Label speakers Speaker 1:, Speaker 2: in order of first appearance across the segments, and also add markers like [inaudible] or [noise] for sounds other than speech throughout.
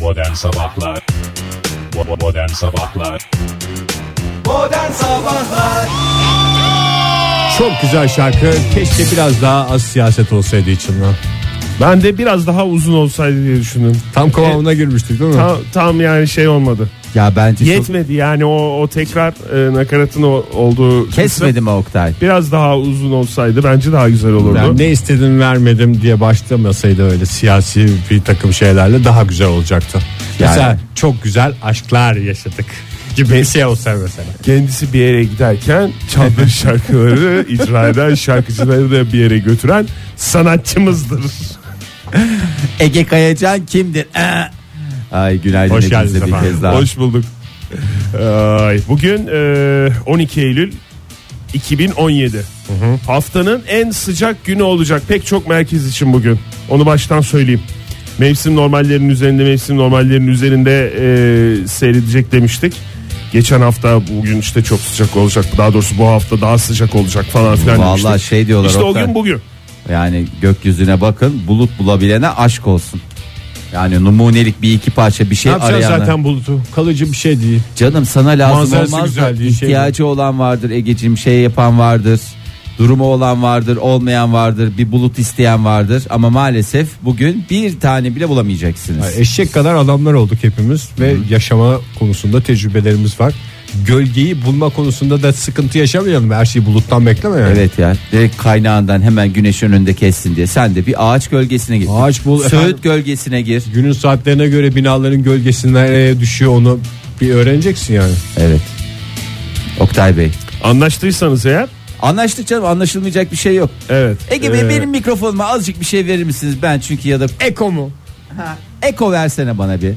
Speaker 1: Modern Sabahlar Bo- Modern Sabahlar
Speaker 2: Modern Sabahlar
Speaker 3: Çok güzel şarkı. Keşke biraz daha az siyaset olsaydı içinden.
Speaker 4: Ben de biraz daha uzun olsaydı diye düşündüm.
Speaker 3: Tam kıvamına girmiştik değil mi?
Speaker 4: E, Tam, tam yani şey olmadı.
Speaker 2: Ya bence çok-
Speaker 4: Yetmedi yani o, o tekrar e, nakaratın o- olduğu kısım
Speaker 2: kesmedi mi Oktay?
Speaker 4: biraz daha uzun olsaydı bence daha güzel olurdu.
Speaker 3: Ben ne istedim vermedim diye başlamasaydı öyle siyasi bir takım şeylerle daha güzel olacaktı. Mesela çok güzel aşklar yaşadık gibi bir şey olsa mesela.
Speaker 4: Kendisi bir yere giderken
Speaker 3: [laughs]
Speaker 4: çaldığı şarkıları icra eden şarkıcıları da bir yere götüren sanatçımızdır.
Speaker 2: Ege Kayacan kimdir? Ee. Ay günaydın
Speaker 3: Hoş
Speaker 2: hepinize
Speaker 3: geldiniz
Speaker 2: bir
Speaker 3: efendim.
Speaker 2: kez daha.
Speaker 4: Hoş bulduk. Ay, bugün e, 12 Eylül 2017. Haftanın en sıcak günü olacak pek çok merkez için bugün. Onu baştan söyleyeyim. Mevsim normallerinin üzerinde mevsim normallerinin üzerinde e, seyredecek demiştik. Geçen hafta bugün işte çok sıcak olacak. Daha doğrusu bu hafta daha sıcak olacak falan filan
Speaker 3: Hani
Speaker 2: Vallahi
Speaker 4: demiştik.
Speaker 2: şey diyorlar
Speaker 4: İşte o
Speaker 2: Oktay. E,
Speaker 4: gün bugün.
Speaker 2: Yani gökyüzüne bakın bulut bulabilene aşk olsun. Yani numunelik bir iki parça bir
Speaker 3: Ne
Speaker 2: şey
Speaker 3: yapacaksın
Speaker 2: arayana.
Speaker 3: zaten bulutu? Kalıcı bir şey değil.
Speaker 2: Canım sana lazım
Speaker 3: Manzarası
Speaker 2: olmaz
Speaker 3: güzel
Speaker 2: da
Speaker 3: değil, şey
Speaker 2: ihtiyacı olan vardır Egeciğim şey yapan vardır. Durumu olan vardır, olmayan vardır, bir bulut isteyen vardır ama maalesef bugün bir tane bile bulamayacaksınız.
Speaker 3: Yani eşek kadar adamlar olduk hepimiz ve yaşama konusunda tecrübelerimiz var. Gölgeyi bulma konusunda da sıkıntı yaşamayalım. Her şeyi buluttan bekleme yani.
Speaker 2: Evet ya direkt kaynağından hemen güneşin önünde kessin diye. Sen de bir ağaç gölgesine gir.
Speaker 3: Ağaç bul
Speaker 2: Söğüt
Speaker 3: efendim.
Speaker 2: gölgesine gir.
Speaker 3: Günün saatlerine göre binaların gölgesi nereye düşüyor onu bir öğreneceksin yani.
Speaker 2: Evet. Oktay Bey.
Speaker 4: Anlaştıysanız eğer.
Speaker 2: Anlaştık canım anlaşılmayacak bir şey yok.
Speaker 4: Evet.
Speaker 2: Ege Bey
Speaker 4: E,
Speaker 2: benim mikrofonuma azıcık bir şey verir misiniz? Ben çünkü ya da
Speaker 3: Eko mu?
Speaker 2: eko versene bana bir.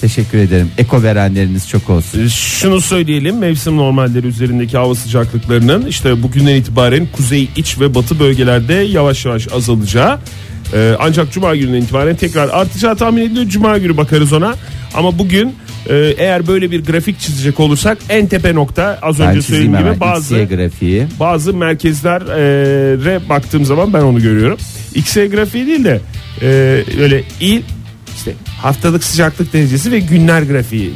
Speaker 2: Teşekkür ederim. Eko verenleriniz çok olsun.
Speaker 4: Ee, Şunu söyleyelim mevsim normalleri üzerindeki hava sıcaklıklarının işte bugünden itibaren kuzey iç ve batı bölgelerde yavaş yavaş azalacağı e, ancak cuma gününden itibaren tekrar artacağı tahmin ediliyor. Cuma günü bakarız ona ama bugün e, eğer böyle bir grafik çizecek olursak en tepe nokta az
Speaker 2: Ben çizeyim
Speaker 4: önce söylediğim
Speaker 2: hemen
Speaker 4: gibi bazı
Speaker 2: XY grafiği.
Speaker 4: bazı merkezlere baktığım zaman ben onu görüyorum. X-ray grafiği değil de e, öyle il işte haftalık sıcaklık derecesi ve günler grafiği.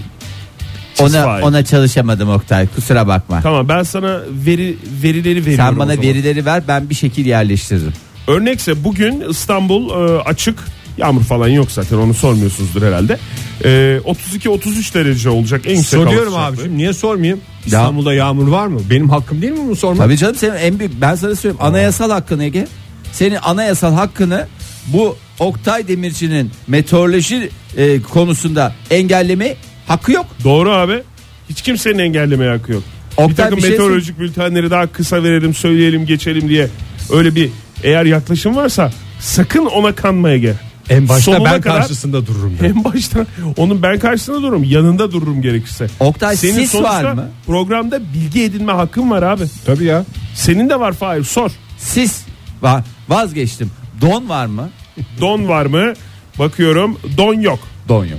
Speaker 4: Çiz
Speaker 2: Ona,
Speaker 4: faiz.
Speaker 2: ona çalışamadım Oktay kusura bakma.
Speaker 4: Tamam ben sana veri verileri veriyorum.
Speaker 2: Sen bana
Speaker 4: o zaman.
Speaker 2: verileri ver ben bir şekil yerleştiririm.
Speaker 4: Örnekse bugün İstanbul e, açık. Yağmur falan yok zaten onu sormuyorsunuzdur herhalde. E, 32-33 derece olacak en yüksek hava
Speaker 3: Soruyorum
Speaker 4: sıcaklığı.
Speaker 3: abicim niye sormayayım? İstanbul'da yağmur var mı? Benim hakkım değil mi bunu sormak?
Speaker 2: Tabii canım senin en büyük ben sana söyleyeyim anayasal hakkın Ege. Senin anayasal hakkını bu Oktay Demirci'nin meteoroloji e, konusunda engelleme hakkı yok.
Speaker 4: Doğru abi. Hiç kimsenin engellemeye hakkı yok.
Speaker 2: Oktay,
Speaker 4: bir takım
Speaker 2: bir şey
Speaker 4: meteorolojik bültenleri daha kısa verelim söyleyelim geçelim diye öyle bir eğer yaklaşım varsa sakın ona kanmaya gel.
Speaker 3: En başta
Speaker 4: Sonuna
Speaker 3: ben
Speaker 4: kadar-
Speaker 3: karşısında dururum. ben.
Speaker 4: En başta onun ben karşısında dururum yanında dururum gerekirse.
Speaker 2: Oktay
Speaker 4: Senin
Speaker 2: sis
Speaker 4: sonuçta
Speaker 2: var mı?
Speaker 4: programda bilgi edinme hakkın var abi.
Speaker 3: Tabii ya.
Speaker 4: Senin de var Fahir sor.
Speaker 2: Sis var. Vazgeçtim. Don var mı?
Speaker 4: Don var mı? Bakıyorum don yok.
Speaker 2: Don yok.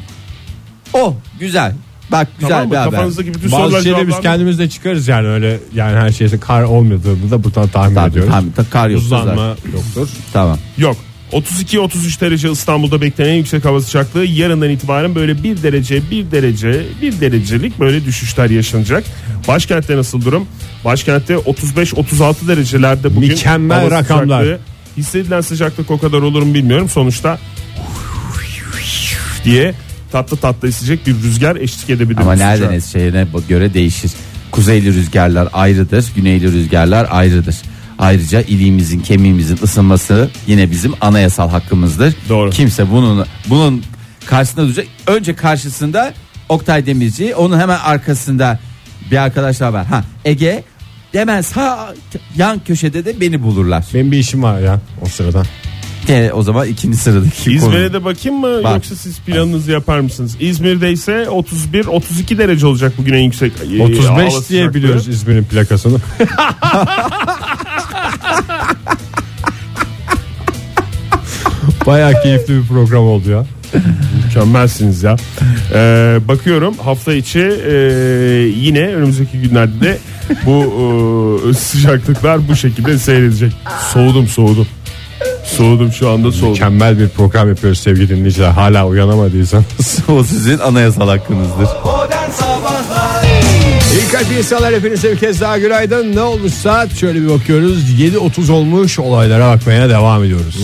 Speaker 2: Oh güzel. Bak güzel
Speaker 4: tamam mı?
Speaker 2: bir haber.
Speaker 4: Kafanızdaki bütün sorular
Speaker 3: Bazı şeyleri biz
Speaker 4: cevaplandı.
Speaker 3: kendimiz de çıkarız yani öyle yani her şeyse kar olmadığını da buradan tahmin
Speaker 2: Tabii,
Speaker 3: ediyoruz.
Speaker 2: tahmin- ta- kar yoktur
Speaker 3: Uzlanma yoktur.
Speaker 2: Tamam.
Speaker 4: Yok. 32-33 derece İstanbul'da beklenen en yüksek hava sıcaklığı yarından itibaren böyle 1 derece 1 derece 1 derecelik böyle düşüşler yaşanacak. Başkentte nasıl durum? Başkentte 35-36 derecelerde bugün
Speaker 3: Mükemmel
Speaker 4: hava
Speaker 3: rakamlar.
Speaker 4: sıcaklığı. Hissedilen sıcaklık o kadar olur mu bilmiyorum. Sonuçta diye tatlı tatlı esecek bir rüzgar eşlik edebilir.
Speaker 2: Ama
Speaker 4: bu sıcağa.
Speaker 2: nereden eseceğine göre değişir. Kuzeyli rüzgarlar ayrıdır, güneyli rüzgarlar ayrıdır. Ayrıca iliğimizin, kemiğimizin ısınması yine bizim anayasal hakkımızdır.
Speaker 4: Doğru.
Speaker 2: Kimse bunun bunun karşısında duracak. Önce karşısında Oktay Demirci, onun hemen arkasında bir arkadaş daha var. Ha, Ege hemen sağ yan köşede de beni bulurlar.
Speaker 3: Benim bir işim var ya o sırada.
Speaker 2: E, o zaman ikinci sıradaki
Speaker 4: İzmir'e de bakayım mı
Speaker 2: Bak.
Speaker 4: yoksa siz planınızı yapar mısınız? İzmir'de ise 31-32 derece olacak bugün en yüksek e, hava
Speaker 3: 35 diye
Speaker 4: sıcaklığı.
Speaker 3: biliyoruz İzmir'in plakasını.
Speaker 1: [laughs]
Speaker 3: Bayağı keyifli bir program oldu ya.
Speaker 2: [laughs]
Speaker 4: Mükemmelsiniz ya. Ee, bakıyorum hafta içi e, yine önümüzdeki günlerde de [laughs] bu e, sıcaklıklar bu şekilde seyredecek. Soğudum soğudum. Soğudum şu anda soğudum.
Speaker 1: Mükemmel bir program yapıyoruz sevgili dinleyiciler. Hala uyanamadıysanız.
Speaker 2: [laughs] o sizin anayasal hakkınızdır.
Speaker 1: [laughs] İyi kalp insanlar hepinize bir kez daha günaydın. Ne olmuş saat? Şöyle bir bakıyoruz. 7.30 olmuş olaylara bakmaya devam ediyoruz.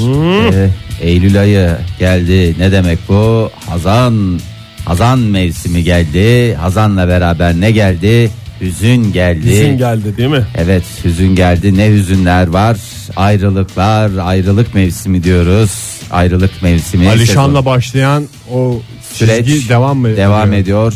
Speaker 2: Eh, Eylül ayı geldi. Ne demek bu? Hazan. Hazan mevsimi geldi. Hazanla beraber ne geldi? Hüzün geldi.
Speaker 4: Hüzün geldi değil mi?
Speaker 2: Evet hüzün geldi ne hüzünler var ayrılıklar ayrılık mevsimi diyoruz ayrılık mevsimi sezon-
Speaker 1: Alişan'la başlayan o
Speaker 2: süreç
Speaker 1: çizgi devam mı?
Speaker 2: devam ediyor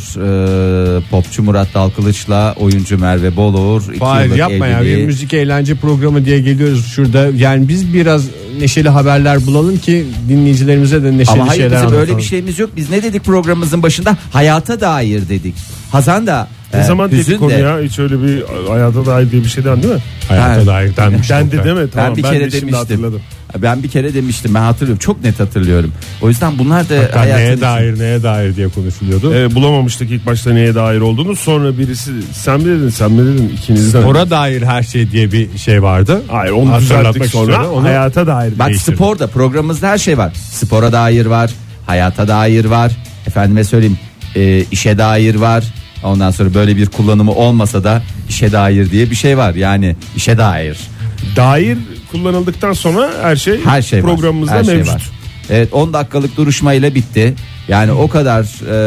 Speaker 2: Ee, popçu Murat Dalkılıç'la oyuncu Merve Boluğur iki
Speaker 1: Hayır
Speaker 2: yıllık
Speaker 1: yapma ya bir
Speaker 2: evliliği.
Speaker 1: müzik eğlence programı diye geliyoruz şurada. Yani biz biraz neşeli haberler bulalım ki dinleyicilerimize de neşeli
Speaker 2: ama hayır
Speaker 1: şeyler
Speaker 2: bizim
Speaker 1: anlatalım.
Speaker 2: öyle bir şeyimiz yok biz ne dedik programımızın başında hayata dair dedik Hazan da
Speaker 4: Ne
Speaker 2: e,
Speaker 4: zaman
Speaker 2: hüzün
Speaker 4: dedik onu
Speaker 2: de.
Speaker 4: ya? Hiç öyle bir hayata dair diye bir şeyden değil mi?
Speaker 1: Hayata
Speaker 2: Ha.
Speaker 1: dair şey denmiş.
Speaker 4: Dendi
Speaker 1: Oktay.
Speaker 4: değil mi? Tamam,
Speaker 2: şey ben bir kere
Speaker 4: de şimdi
Speaker 2: demiştim. E,
Speaker 4: hatırladım.
Speaker 2: Ben bir kere demiştim. Ben hatırlıyorum. Çok net hatırlıyorum. O yüzden bunlar da
Speaker 1: Hatta
Speaker 2: hayatın
Speaker 1: neye
Speaker 2: içi-
Speaker 1: dair neye dair diye konuşuluyordu.
Speaker 4: Ee, bulamamıştık ilk başta neye dair olduğunu. Sonra birisi sen mi dedin sen mi dedin ikinizden.
Speaker 1: Spora dair her şey diye bir şey vardı.
Speaker 4: Hayır onu
Speaker 1: Hatırlatmak
Speaker 4: düzelttik sonra.
Speaker 1: istiyorum. Onu-
Speaker 4: Hayata dair.
Speaker 2: Bak
Speaker 4: değiştirdik.
Speaker 2: sporda programımızda her şey var. Spora dair var, hayata dair var. Efendime söyleyeyim e, işe dair var. Ondan sonra böyle bir kullanımı olmasa da işe dair diye bir şey var. Yani işe dair
Speaker 4: Dair kullanıldıktan sonra her şey,
Speaker 2: her şey var.
Speaker 4: programımızda
Speaker 2: Her şey
Speaker 4: mevcut.
Speaker 2: var. Evet 10 dakikalık duruşmayla bitti. Yani o kadar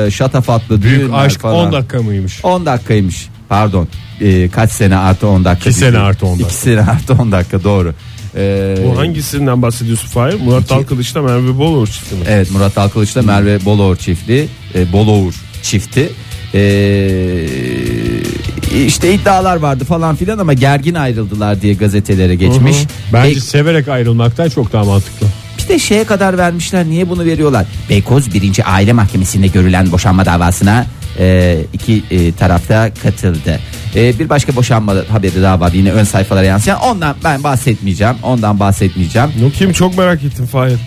Speaker 2: e, şatafatlı
Speaker 1: Büyük
Speaker 2: düğünler
Speaker 1: aşk
Speaker 2: falan.
Speaker 1: 10 dakika mıymış?
Speaker 2: 10 dakikaymış. Pardon. E, kaç sene artı 10 dakika.
Speaker 1: İki sene
Speaker 2: dedi.
Speaker 1: artı 10
Speaker 2: İki
Speaker 1: dakika.
Speaker 2: sene artı 10 dakika doğru. E,
Speaker 4: Bu hangisinden bahsediyorsun Fahir? Murat Dalkılıç'ta Merve Boluğur çıktı mı?
Speaker 2: Evet Murat Dalkılıç'la Merve Boloğur çiftliği, e, Boloğur çifti. E, işte iddialar vardı falan filan ama gergin ayrıldılar diye gazetelere geçmiş.
Speaker 1: Bence
Speaker 2: Bey-
Speaker 1: severek ayrılmaktan çok daha mantıklı.
Speaker 2: bir de şeye kadar vermişler niye bunu veriyorlar? Beykoz 1. Aile Mahkemesi'nde görülen boşanma davasına e, iki e, tarafta katıldı. E, bir başka boşanma haberi daha var yine ön sayfalara yansıyan. Ondan ben bahsetmeyeceğim. Ondan bahsetmeyeceğim.
Speaker 4: No kim çok merak ettim Fahir.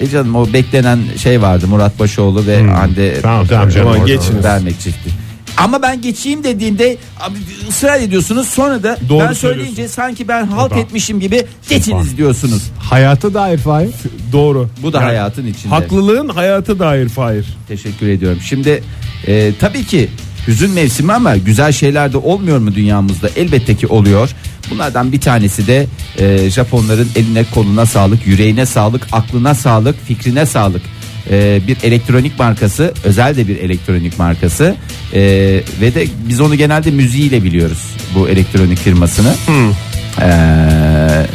Speaker 2: E canım o beklenen şey vardı Murat Başoğlu ve Hande
Speaker 1: Tamam, tamam canım,
Speaker 2: Aman
Speaker 1: oradan
Speaker 2: geçiniz.
Speaker 4: oraya.
Speaker 2: vermek çifti. Ama ben geçeyim dediğimde abi, ısrar ediyorsunuz sonra da
Speaker 4: Doğru
Speaker 2: ben söyleyince
Speaker 4: söylüyorsun.
Speaker 2: sanki ben halk
Speaker 1: Tamam.
Speaker 2: etmişim gibi geçiniz diyorsunuz.
Speaker 1: Hayata dair Fahir.
Speaker 4: Doğru.
Speaker 2: Bu da
Speaker 4: Yani
Speaker 2: hayatın içinde.
Speaker 4: Haklılığın hayata dair Fahir.
Speaker 2: Teşekkür ediyorum. Şimdi e, tabii ki hüzün mevsimi ama güzel şeyler de olmuyor mu dünyamızda? Elbette ki oluyor. Bunlardan bir tanesi de e, Japonların eline koluna sağlık, yüreğine sağlık, aklına sağlık, fikrine sağlık. E, bir elektronik markası, özel de bir elektronik markası E, ve de biz onu genelde müziğiyle biliyoruz bu elektronik firmasını. Ee,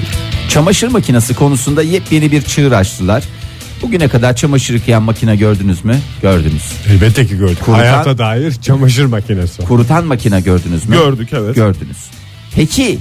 Speaker 2: çamaşır makinesi konusunda yepyeni bir çığır açtılar. Bugüne kadar çamaşır yıkayan makine gördünüz mü? Gördünüz.
Speaker 1: Elbette ki gördük.
Speaker 2: Kurutan-
Speaker 1: Hayata dair çamaşır makinesi.
Speaker 2: Kurutan makine gördünüz mü?
Speaker 4: Gördük evet.
Speaker 2: Gördünüz. Peki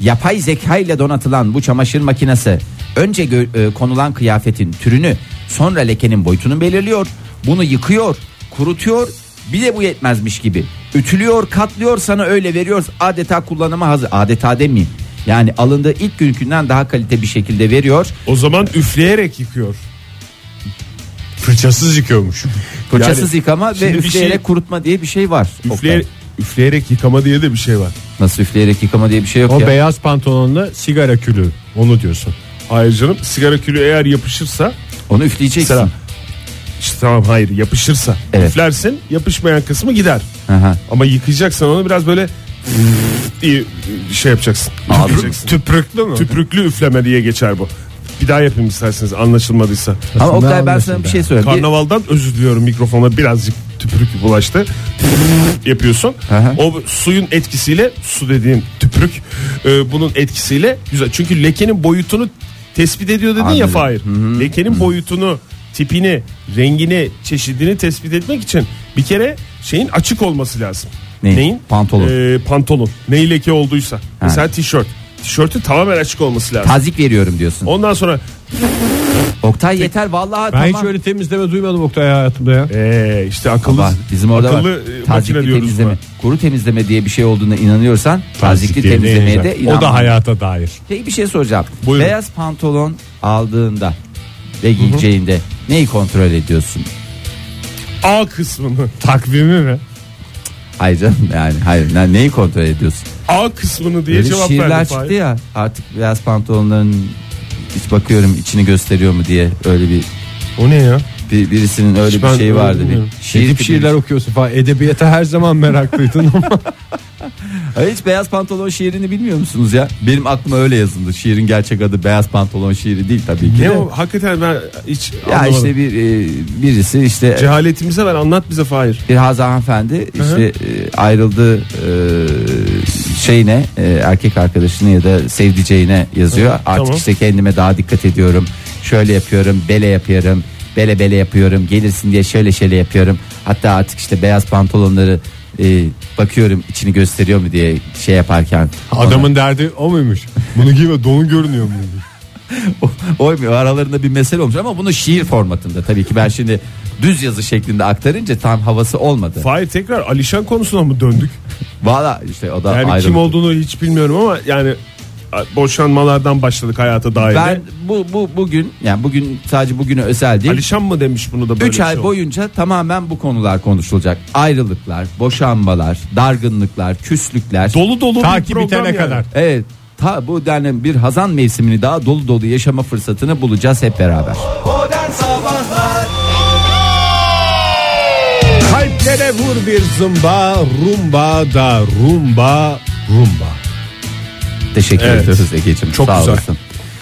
Speaker 2: yapay zeka ile donatılan bu çamaşır makinesi önce gö- e, konulan kıyafetin türünü sonra lekenin boyutunu belirliyor. Bunu yıkıyor, kurutuyor. Bir de bu yetmezmiş gibi ütülüyor, katlıyor sana öyle veriyoruz. Adeta kullanıma hazır. Adeta demeyeyim. Yani alındığı ilk günkünden daha kalite bir şekilde veriyor.
Speaker 4: O zaman üfleyerek yıkıyor.
Speaker 1: Fırçasız yıkıyormuş.
Speaker 2: Fırçasız yıkama ve
Speaker 4: şimdi bir
Speaker 2: üfleyerek
Speaker 4: şey-
Speaker 2: kurutma diye bir şey var.
Speaker 4: Üfleyer,
Speaker 2: Oktay.
Speaker 4: üfleyerek yıkama diye de bir şey var.
Speaker 2: Nasıl üfleyerek yıkama diye bir şey yok
Speaker 1: O
Speaker 2: ya.
Speaker 1: beyaz pantolonla sigara külü. Onu diyorsun.
Speaker 4: Hayır canım sigara külü eğer yapışırsa
Speaker 2: Onu üfleyeceksin.
Speaker 4: Selam. işte tamam hayır yapışırsa
Speaker 2: Evet.
Speaker 4: üflersin yapışmayan kısmı gider.
Speaker 2: Aha.
Speaker 4: Ama yıkayacaksan onu biraz böyle diye şey yapacaksın. Üfleyeceksin.
Speaker 1: Tüprüklü mü?
Speaker 4: Tüprüklü üfleme diye geçer bu. Bir daha yapayım isterseniz anlaşılmadıysa.
Speaker 2: Ama Oktay ben sana
Speaker 1: anlaşıldı.
Speaker 2: bir şey söyleyeyim. Bir-
Speaker 4: Karnavaldan özür diliyorum mikrofona birazcık tüpürük bulaştı. [laughs] yapıyorsun.
Speaker 2: Aha.
Speaker 4: O suyun etkisiyle su dediğim tüpürük e, bunun etkisiyle güzel. Çünkü lekenin boyutunu tespit ediyor dedin ya
Speaker 2: Anladım.
Speaker 4: Fahir. Lekenin boyutunu, tipini, rengini, çeşidini tespit etmek için bir kere şeyin açık olması lazım.
Speaker 2: Neyin?
Speaker 4: Neyin?
Speaker 2: Pantolon.
Speaker 4: E, pantolon. Ne leke olduysa. Mesela tişört. Tişörtü tamamen açık olması lazım.
Speaker 2: Tazik veriyorum diyorsun.
Speaker 4: Ondan sonra
Speaker 2: Oktay yeter vallahi
Speaker 1: Ben
Speaker 2: tamam.
Speaker 1: hiç öyle temizleme duymadım Oktay hayatımda ya.
Speaker 4: Ee, işte akıllı
Speaker 2: Bak, bizim orada
Speaker 4: akıllı
Speaker 2: var.
Speaker 4: e, makine
Speaker 2: Tazikli
Speaker 4: diyoruz
Speaker 2: temizleme.
Speaker 4: buna.
Speaker 2: Kuru temizleme diye bir şey olduğuna inanıyorsan tazikli
Speaker 1: diye
Speaker 2: temizlemeye de
Speaker 1: neyse.
Speaker 2: inan.
Speaker 1: O da hayata dair.
Speaker 2: Peki bir şey soracağım.
Speaker 4: Buyurun.
Speaker 2: Beyaz pantolon aldığında ve giyeceğinde neyi kontrol ediyorsun?
Speaker 4: A kısmını
Speaker 1: Takvimi mi?
Speaker 2: Hayır canım yani hayır ne- neyi kontrol ediyorsun?
Speaker 4: A kısmını diye
Speaker 2: Böyle
Speaker 4: cevap
Speaker 2: şiirler
Speaker 4: verdim.
Speaker 2: çıktı
Speaker 4: Fahir.
Speaker 2: ya artık beyaz pantolonların Hiç bakıyorum içini gösteriyor mu diye öyle bir,
Speaker 4: O ne ya?
Speaker 2: bir- birisinin öyle
Speaker 4: Hiç
Speaker 2: bir
Speaker 4: ben
Speaker 2: şeyi vardı
Speaker 4: bilmiyorum.
Speaker 2: bir. Şiir
Speaker 1: Edip
Speaker 2: gibi.
Speaker 1: şiirler okuyorsun falan. Edebiyata her zaman [laughs] meraklıydın ama.
Speaker 2: Ay, Hiç beyaz pantolon şiirini bilmiyor musunuz ya? Benim aklıma öyle yazıldı. Şiirin gerçek adı beyaz pantolon şiiri değil tabii ki. de.
Speaker 4: Ne o? Hakikaten ben hiç
Speaker 2: Ya
Speaker 4: anlamadım.
Speaker 2: işte bir e, birisi işte
Speaker 4: Cehaletimize ver anlat bize Fahir.
Speaker 2: bir Hazan hanımefendi işte e, ayrıldığı e, şeyine e, erkek arkadaşını ya da sevdiceğine yazıyor. Artık
Speaker 4: tamam.
Speaker 2: işte kendime daha dikkat ediyorum. Şöyle yapıyorum, bele yapıyorum. Bele bele yapıyorum. Gelirsin diye şöyle şöyle yapıyorum. Hatta artık işte beyaz pantolonları e, bakıyorum içini gösteriyor mu diye şey yaparken. [laughs]
Speaker 1: Adamın derdi o muymuş? Bunu giyme don görünüyor mu?
Speaker 2: O- Oymuyor aralarında bir mesele olmuş ama bunu şiir formatında tabii ki ben şimdi düz yazı şeklinde aktarınca tam havası olmadı.
Speaker 4: Fahir tekrar Alişan konusuna mı döndük?
Speaker 2: Valla işte o da
Speaker 4: Yani
Speaker 2: ayrıldı.
Speaker 4: kim olduğunu hiç bilmiyorum ama yani a- boşanmalardan başladık hayata dair. de.
Speaker 2: Ben bu, bu bugün yani bugün sadece bugüne özel değil.
Speaker 4: Alişan mı demiş bunu da böyle
Speaker 2: 3
Speaker 4: bir
Speaker 2: ay
Speaker 4: şey
Speaker 2: boyunca tamamen bu konular konuşulacak. Ayrılıklar, boşanmalar, dargınlıklar, küslükler.
Speaker 4: Dolu dolu
Speaker 1: Ta
Speaker 4: bir
Speaker 1: ki
Speaker 4: program
Speaker 1: bitene
Speaker 4: yani.
Speaker 1: kadar.
Speaker 2: evet. Ta bu denli bir hazan mevsimini daha dolu dolu yaşama fırsatını bulacağız hep beraber.
Speaker 1: Kalplere vur bir zımba, rumba da rumba, rumba.
Speaker 2: Teşekkür
Speaker 4: Evet.
Speaker 2: ediyoruz Ege'ciğim.
Speaker 1: Çok
Speaker 2: Sağ
Speaker 1: güzel.
Speaker 2: olasın.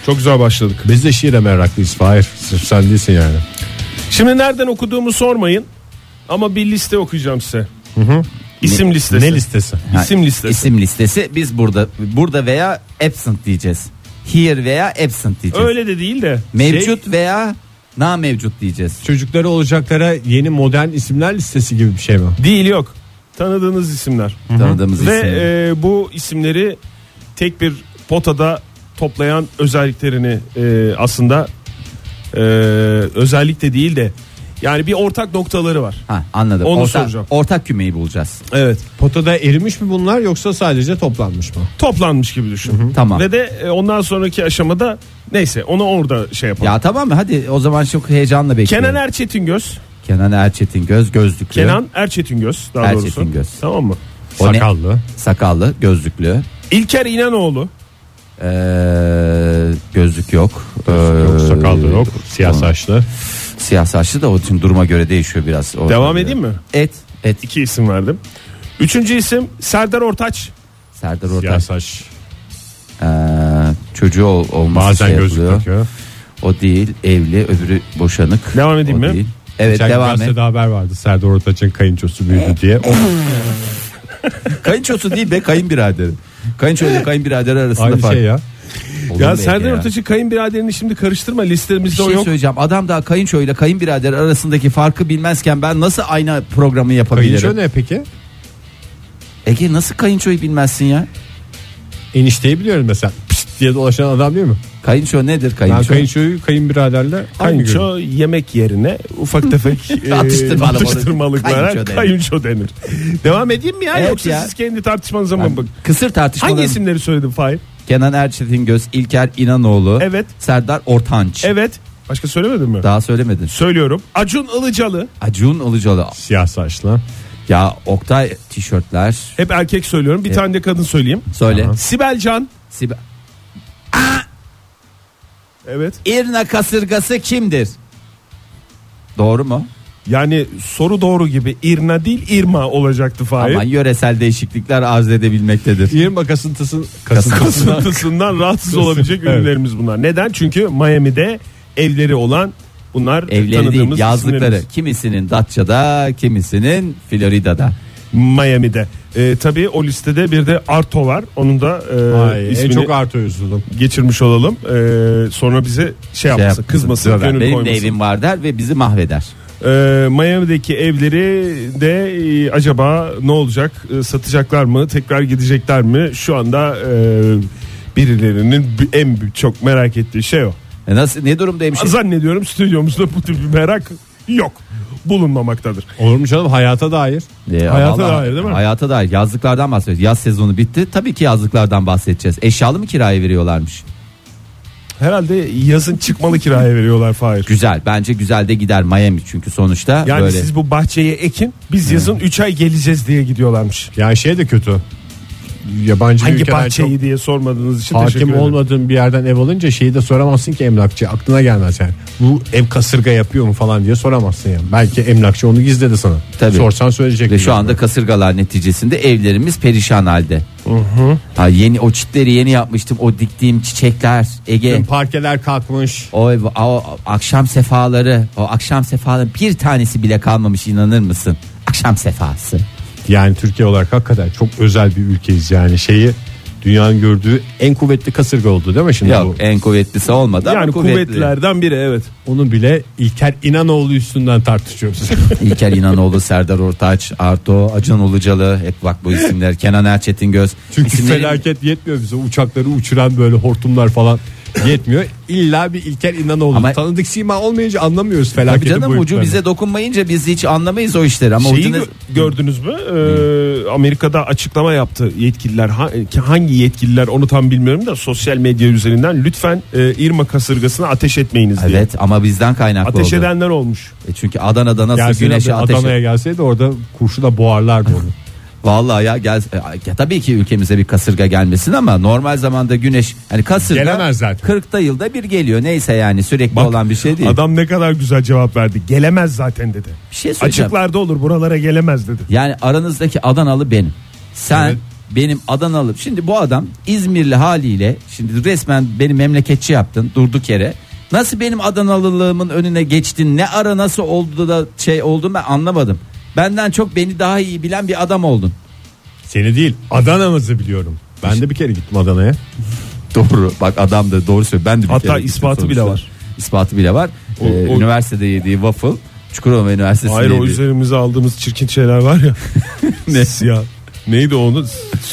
Speaker 4: Çok güzel başladık.
Speaker 1: Biz de şiire meraklıyız Fahir. Sırf sen değilsin yani.
Speaker 4: Şimdi nereden okuduğumu sormayın ama bir liste okuyacağım size. İsim listesi.
Speaker 1: Ne listesi?
Speaker 4: İsim listesi.
Speaker 2: İsim listesi biz burada burada veya absent diyeceğiz. Here veya absent diyeceğiz.
Speaker 4: Öyle de değil de. şey
Speaker 2: Mevcut veya na mevcut diyeceğiz.
Speaker 1: Çocukları olacaklara yeni modern isimler listesi gibi bir şey mi?
Speaker 4: Şey- değil yok. Tanıdığınız isimler.
Speaker 2: Tanıdığımız
Speaker 4: Ve
Speaker 2: isimleri.
Speaker 4: e, bu isimleri tek bir potada toplayan özelliklerini e, aslında e, özellik de değil de yani bir ortak noktaları var.
Speaker 2: Ha anladım.
Speaker 4: Onu
Speaker 2: ortak,
Speaker 4: soracağım.
Speaker 2: Ortak kümeyi bulacağız.
Speaker 4: Evet.
Speaker 1: Potada erimiş mi bunlar yoksa sadece toplanmış mı?
Speaker 4: Toplanmış gibi düşün.
Speaker 2: Tamam.
Speaker 4: Ve de e, ondan sonraki aşamada neyse onu orada şey yapalım.
Speaker 2: Ya tamam mı? Hadi o zaman çok heyecanla bekliyorum.
Speaker 4: Kenan Erçetingöz.
Speaker 2: Kenan Erçetin göz gözlüklü.
Speaker 4: Kenan Erçetingöz daha doğrusu.
Speaker 2: Erçetingöz.
Speaker 4: Tamam mı?
Speaker 2: O ne?
Speaker 1: Sakallı.
Speaker 2: Sakallı, gözlüklü.
Speaker 4: İlker İnanoğlu.
Speaker 2: Ee, gözlük yok.
Speaker 1: Yok
Speaker 2: Ee,
Speaker 1: sakallı yok. Siyah
Speaker 2: tamam.
Speaker 1: saçlı.
Speaker 2: Siyah saçlı da o tüm duruma göre değişiyor biraz. O-
Speaker 4: Devam edeyim mi?
Speaker 2: Et. Et.
Speaker 4: İki isim verdim. Üçüncü isim Serdar Ortaç.
Speaker 2: Serdar
Speaker 1: Siyah
Speaker 2: Ortaç.
Speaker 1: saç.
Speaker 2: Ee, çocuğu ol, olması
Speaker 1: Bazen
Speaker 2: şey
Speaker 1: gözlük
Speaker 2: yapılıyor.
Speaker 1: takıyor.
Speaker 2: O değil. Evli. Öbürü boşanık.
Speaker 4: Devam edeyim
Speaker 2: O
Speaker 4: mi?
Speaker 2: değil. Evet
Speaker 1: Geçen gün
Speaker 2: devam et.
Speaker 1: gazetede haber vardı Serdar Ortaç'ın kayınçosu büyüdü diye. O
Speaker 2: Kayınçosu değil be kayınbiraderi. Kayınço ile kayınbirader arasında
Speaker 1: aynı
Speaker 2: fark.
Speaker 1: şey ya.
Speaker 2: Olur
Speaker 4: Ya
Speaker 2: mu
Speaker 4: Serdar
Speaker 2: Ege ya?
Speaker 4: Ortaç'ın kayınbiraderini şimdi karıştırma
Speaker 2: Bir
Speaker 4: listemizde o
Speaker 2: şey
Speaker 4: yok.
Speaker 2: söyleyeceğim. Adam daha kayınço ile kayınbirader arasındaki farkı bilmezken ben nasıl aynı programı yapabilirim?
Speaker 1: Kayınço ne peki?
Speaker 2: Ege nasıl kayınçoyu bilmezsin ya?
Speaker 1: Enişteyi biliyorum mesela. Pişt diye dolaşan adam değil mi?
Speaker 2: Kayınço nedir
Speaker 1: Ben
Speaker 2: kayınço?
Speaker 1: kayınçoyu kayınbiraderle aynı görüyorum.
Speaker 4: Kayınço yemek yerine
Speaker 2: [laughs]
Speaker 4: ufak tefek e,
Speaker 2: Atıştırmalık-
Speaker 4: atıştırmalıklara
Speaker 2: kayınço denir.
Speaker 4: kayınço denir. Devam edeyim mi ya
Speaker 2: Evet
Speaker 4: yoksa
Speaker 2: ya.
Speaker 4: siz kendi tartışmanıza mı
Speaker 2: Ben
Speaker 4: bak?
Speaker 2: Kısır
Speaker 4: Hangi
Speaker 2: tartışmaları.
Speaker 4: isimleri söyledim Fahir?
Speaker 2: Kenan Erçetin Göz, İlker İnanoğlu,
Speaker 4: Evet.
Speaker 2: Serdar Ortanç.
Speaker 4: Evet. Başka söylemedin mi?
Speaker 2: Daha söylemedin.
Speaker 4: Söylüyorum. Acun Ilıcalı.
Speaker 2: Acun Ilıcalı.
Speaker 1: Siyah saçlı.
Speaker 2: Ya Oktay tişörtler.
Speaker 4: Hep erkek söylüyorum. Bir tane de kadın söyleyeyim.
Speaker 2: Söyle.
Speaker 1: Tamam.
Speaker 4: Sibel Can.
Speaker 2: Sib-
Speaker 4: Evet.
Speaker 2: İrna kasırgası kimdir? Doğru mu?
Speaker 4: Yani soru doğru gibi İrna değil İrma olacaktı Fahir.
Speaker 2: Ama yöresel değişiklikler arz edebilmektedir.
Speaker 1: İrma kasıntısın. kasıntısına
Speaker 4: Kasıntısından rahatsız olabilecek
Speaker 1: Evet.
Speaker 4: ürünlerimiz bunlar. Neden? Çünkü Miami'de evleri olan bunlar
Speaker 2: Evleri değil
Speaker 4: tanıdığımız
Speaker 2: yazlıkları.
Speaker 4: isimlerimiz.
Speaker 2: Kimisinin Datça'da, kimisinin Florida'da.
Speaker 4: Miami'de. Ee, tabii o listede bir de Arto var. Onun da e,
Speaker 1: Ay, en
Speaker 4: ismini
Speaker 1: çok artı üzüldüm.
Speaker 4: geçirmiş olalım. Ee, sonra bize şey
Speaker 2: Şey
Speaker 4: yapmasın,
Speaker 2: yapmasın,
Speaker 4: kızmasın,
Speaker 2: döver.
Speaker 4: gönül
Speaker 2: Benim
Speaker 4: koymasın.
Speaker 2: de evim var der ve bizi mahveder.
Speaker 4: Ee, Miami'deki evleri de e, acaba ne olacak? E, satacaklar mı? Tekrar gidecekler mi? Şu anda e, birilerinin b- en b- çok merak ettiği şey o.
Speaker 2: E Nasıl ne durumdaymış?
Speaker 4: şey- Zannediyorum stüdyomuzda bu tip bir merak yok. Bulunmamaktadır.
Speaker 1: Olur mu canım hayata dair?
Speaker 2: E,
Speaker 4: Hayata
Speaker 2: vallahi-
Speaker 4: dair değil mi?
Speaker 2: Hayata dair yazlıklardan bahsediyoruz. Yaz sezonu bitti. Tabii ki yazlıklardan bahsedeceğiz. Eşyalı mı kiraya veriyorlarmış?
Speaker 4: Herhalde yazın çıkmalı kiraya veriyorlar Fahir.
Speaker 2: Güzel. Bence güzel de gider Miami çünkü sonuçta
Speaker 4: Yani
Speaker 2: böyle.
Speaker 4: siz bu bahçeye ekin biz yazın 3 ay geleceğiz diye gidiyorlarmış.
Speaker 1: Yani şey de kötü. yabancı bir
Speaker 4: Hangi
Speaker 1: ülkeden
Speaker 4: bahçeyi
Speaker 1: çok
Speaker 4: diye sormadığınız için teşekkür
Speaker 1: hakim
Speaker 4: ederim.
Speaker 1: olmadığın bir yerden ev alınca şeyi de soramazsın ki emlakçı aklına gelmez yani. Bu ev kasırga yapıyor mu falan diye soramazsın yani. Belki emlakçı onu gizledi sana.
Speaker 2: Tabii.
Speaker 1: Sorsan söyleyecek.
Speaker 2: Ve şu
Speaker 1: yani.
Speaker 2: anda kasırgalar neticesinde evlerimiz perişan halde. Ha, yeni o çitleri yeni yapmıştım. O diktiğim çiçekler Ege.
Speaker 1: parkeler kalkmış.
Speaker 2: O, ev- o akşam sefaları, o akşam sefaların bir tanesi bile kalmamış inanır mısın? Akşam sefası.
Speaker 1: Yani Türkiye olarak hakikaten çok özel bir ülkeyiz yani şeyi dünyanın gördüğü en kuvvetli kasırga oldu değil mi şimdi
Speaker 2: Yok
Speaker 1: bu?
Speaker 2: en kuvvetlisi olmadı ama
Speaker 4: Yani
Speaker 2: kuvvetli.
Speaker 4: kuvvetlerden biri evet.
Speaker 1: Onu bile İlker İnanoğlu üstünden
Speaker 2: [laughs]
Speaker 1: tartışıyoruz.
Speaker 2: [laughs] İlker İnanoğlu, Serdar Ortaç, Arto, Acan Ulucalı hep bak bu isimler. Kenan Erçetingöz.
Speaker 1: Çünkü
Speaker 2: İsimlerin-
Speaker 1: felaket yetmiyor bize uçakları uçuran böyle hortumlar falan yetmiyor. İlla bir İlker İnanoğlu
Speaker 2: Ama-
Speaker 1: tanıdık sima olmayınca anlamıyoruz
Speaker 2: Tabii
Speaker 1: felaketi
Speaker 2: canım ucu bize dokunmayınca biz hiç anlamayız o işleri ama
Speaker 4: Şeyi
Speaker 2: ucuna-
Speaker 4: gö- gördünüz mü? Ee, Amerika'da açıklama yaptı yetkililer. Ha- ki hangi yetkililer onu tam bilmiyorum da sosyal medya üzerinden lütfen e, Irma kasırgasına ateş etmeyiniz diye.
Speaker 2: Evet ama bizden kaynaklı
Speaker 4: Ateş
Speaker 2: oldu.
Speaker 4: edenler olmuş.
Speaker 2: E çünkü Adana'da nasıl güneşe ateş
Speaker 1: Adana'ya gelseydi orada kurşuna boğarlardı onu.
Speaker 2: Vallahi ya gel e, ya tabii ki ülkemize bir kasırga gelmesin ama normal zamanda güneş yani kasırga
Speaker 1: Gelemez zaten.
Speaker 2: 40'ta yılda bir geliyor. Neyse yani sürekli
Speaker 4: Bak,
Speaker 2: olan bir şey değil.
Speaker 4: [laughs] Adam ne kadar güzel cevap verdi. Gelemez zaten dedi.
Speaker 2: bir şey söyleyeceğim.
Speaker 4: Açıklarda olur buralara gelemez dedi.
Speaker 2: Yani aranızdaki Adanalı benim. Sen
Speaker 1: Evet.
Speaker 2: benim Adanalı. Şimdi bu adam İzmirli haliyle şimdi resmen beni memleketçi yaptın durduk yere. Nasıl benim Adanalılığımın önüne geçtin? Ne ara nasıl oldu da şey oldu ben anlamadım. Benden çok beni daha iyi bilen bir adam oldun.
Speaker 1: Seni değil Adana'mızı biliyorum. Ben de bir kere gittim Adana'ya.
Speaker 2: Doğru. Bak adam da doğru söylüyor. Ben de bir
Speaker 4: Hatta
Speaker 2: kere gittim
Speaker 4: ispatı
Speaker 2: sonuçta.
Speaker 4: bile var.
Speaker 2: İspatı bile var.
Speaker 4: O-
Speaker 2: Ee,
Speaker 4: o-
Speaker 2: Üniversitede yediği waffle Çukurova Üniversitesi'nde
Speaker 4: Hayır o
Speaker 2: yediği-
Speaker 4: üzerimize aldığımız çirkin şeyler var ya.
Speaker 2: [laughs] Ne?
Speaker 4: Siyah. Neydi onu?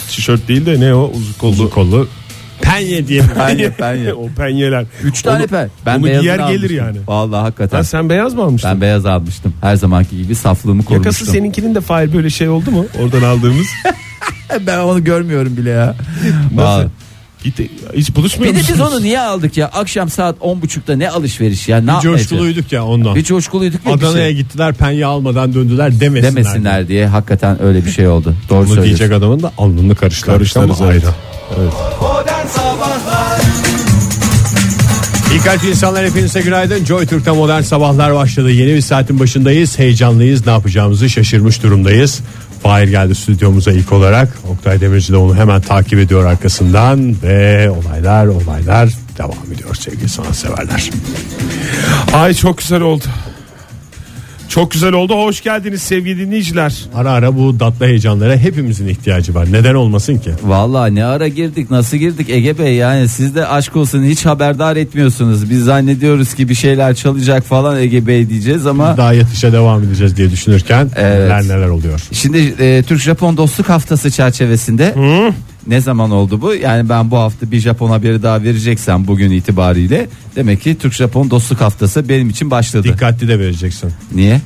Speaker 4: Tişört değil de ne o? Uzun kollu.
Speaker 1: Uzun kollu. Penye diye
Speaker 2: Penye,
Speaker 4: [laughs]
Speaker 2: penye.
Speaker 4: o penyeler.
Speaker 2: Üç tane
Speaker 4: Onu-
Speaker 2: pe. Ben
Speaker 4: onu
Speaker 2: beyazını
Speaker 4: giyer gelir
Speaker 2: almıştım.
Speaker 4: yani.
Speaker 2: Vallahi hakikaten.
Speaker 4: Ha, sen beyaz mı almıştın?
Speaker 2: Ben beyaz almıştım. Her zamanki gibi saflığımı korumuştum.
Speaker 4: Yakası seninkinin de fail böyle şey oldu mu? Oradan aldığımız.
Speaker 2: Ben onu görmüyorum bile ya. Vallahi.
Speaker 4: Git, hiç buluşmuyor
Speaker 2: Bir de biz
Speaker 4: musunuz?
Speaker 2: onu niye aldık ya? Akşam saat 10.30'da ne alışveriş ya? Ne
Speaker 1: Bir
Speaker 2: yapmaya
Speaker 1: coşkuluyduk ya ondan.
Speaker 2: çalış- Bir coşkuluyduk. ya, bir
Speaker 1: Adana'ya
Speaker 2: şey.
Speaker 1: gittiler penye almadan döndüler demesinler.
Speaker 2: demesinler diye hakikaten öyle bir şey oldu. Doğru
Speaker 1: Bunu
Speaker 2: söylüyorsun.
Speaker 1: diyecek adamın da alnını karıştırmış ama
Speaker 4: Karıştırırız, evet.
Speaker 1: ayrı. İyi kalp insanlar hepinize günaydın. Joy Türk'te modern sabahlar başladı. Yeni bir saatin başındayız. Heyecanlıyız. Ne yapacağımızı şaşırmış durumdayız. Fahir geldi stüdyomuza ilk olarak. Oktay Demirci de onu hemen takip ediyor arkasından. Ve olaylar olaylar devam ediyor sevgili sanatseverler.
Speaker 4: Ay çok güzel oldu. Çok güzel oldu. Hoş geldiniz sevgili dinleyiciler.
Speaker 1: Ara ara bu tatlı heyecanlara hepimizin ihtiyacı var. Neden olmasın ki?
Speaker 2: Vallahi ne ara girdik nasıl girdik Ege Bey yani siz de aşk olsun hiç haberdar etmiyorsunuz. Biz zannediyoruz ki bir şeyler çalacak falan Ege Bey diyeceğiz ama
Speaker 1: Daha yatışa devam edeceğiz diye düşünürken
Speaker 2: Evet.
Speaker 1: neler neler oluyor.
Speaker 2: şimdi e, Türk-Japon dostluk haftası çerçevesinde ne zaman oldu bu? Yani ben bu hafta bir Japon haberi daha vereceksem bugün itibariyle demek ki Türk-Japon dostluk haftası benim için başladı.
Speaker 1: Dikkatli de vereceksin.
Speaker 2: Niye?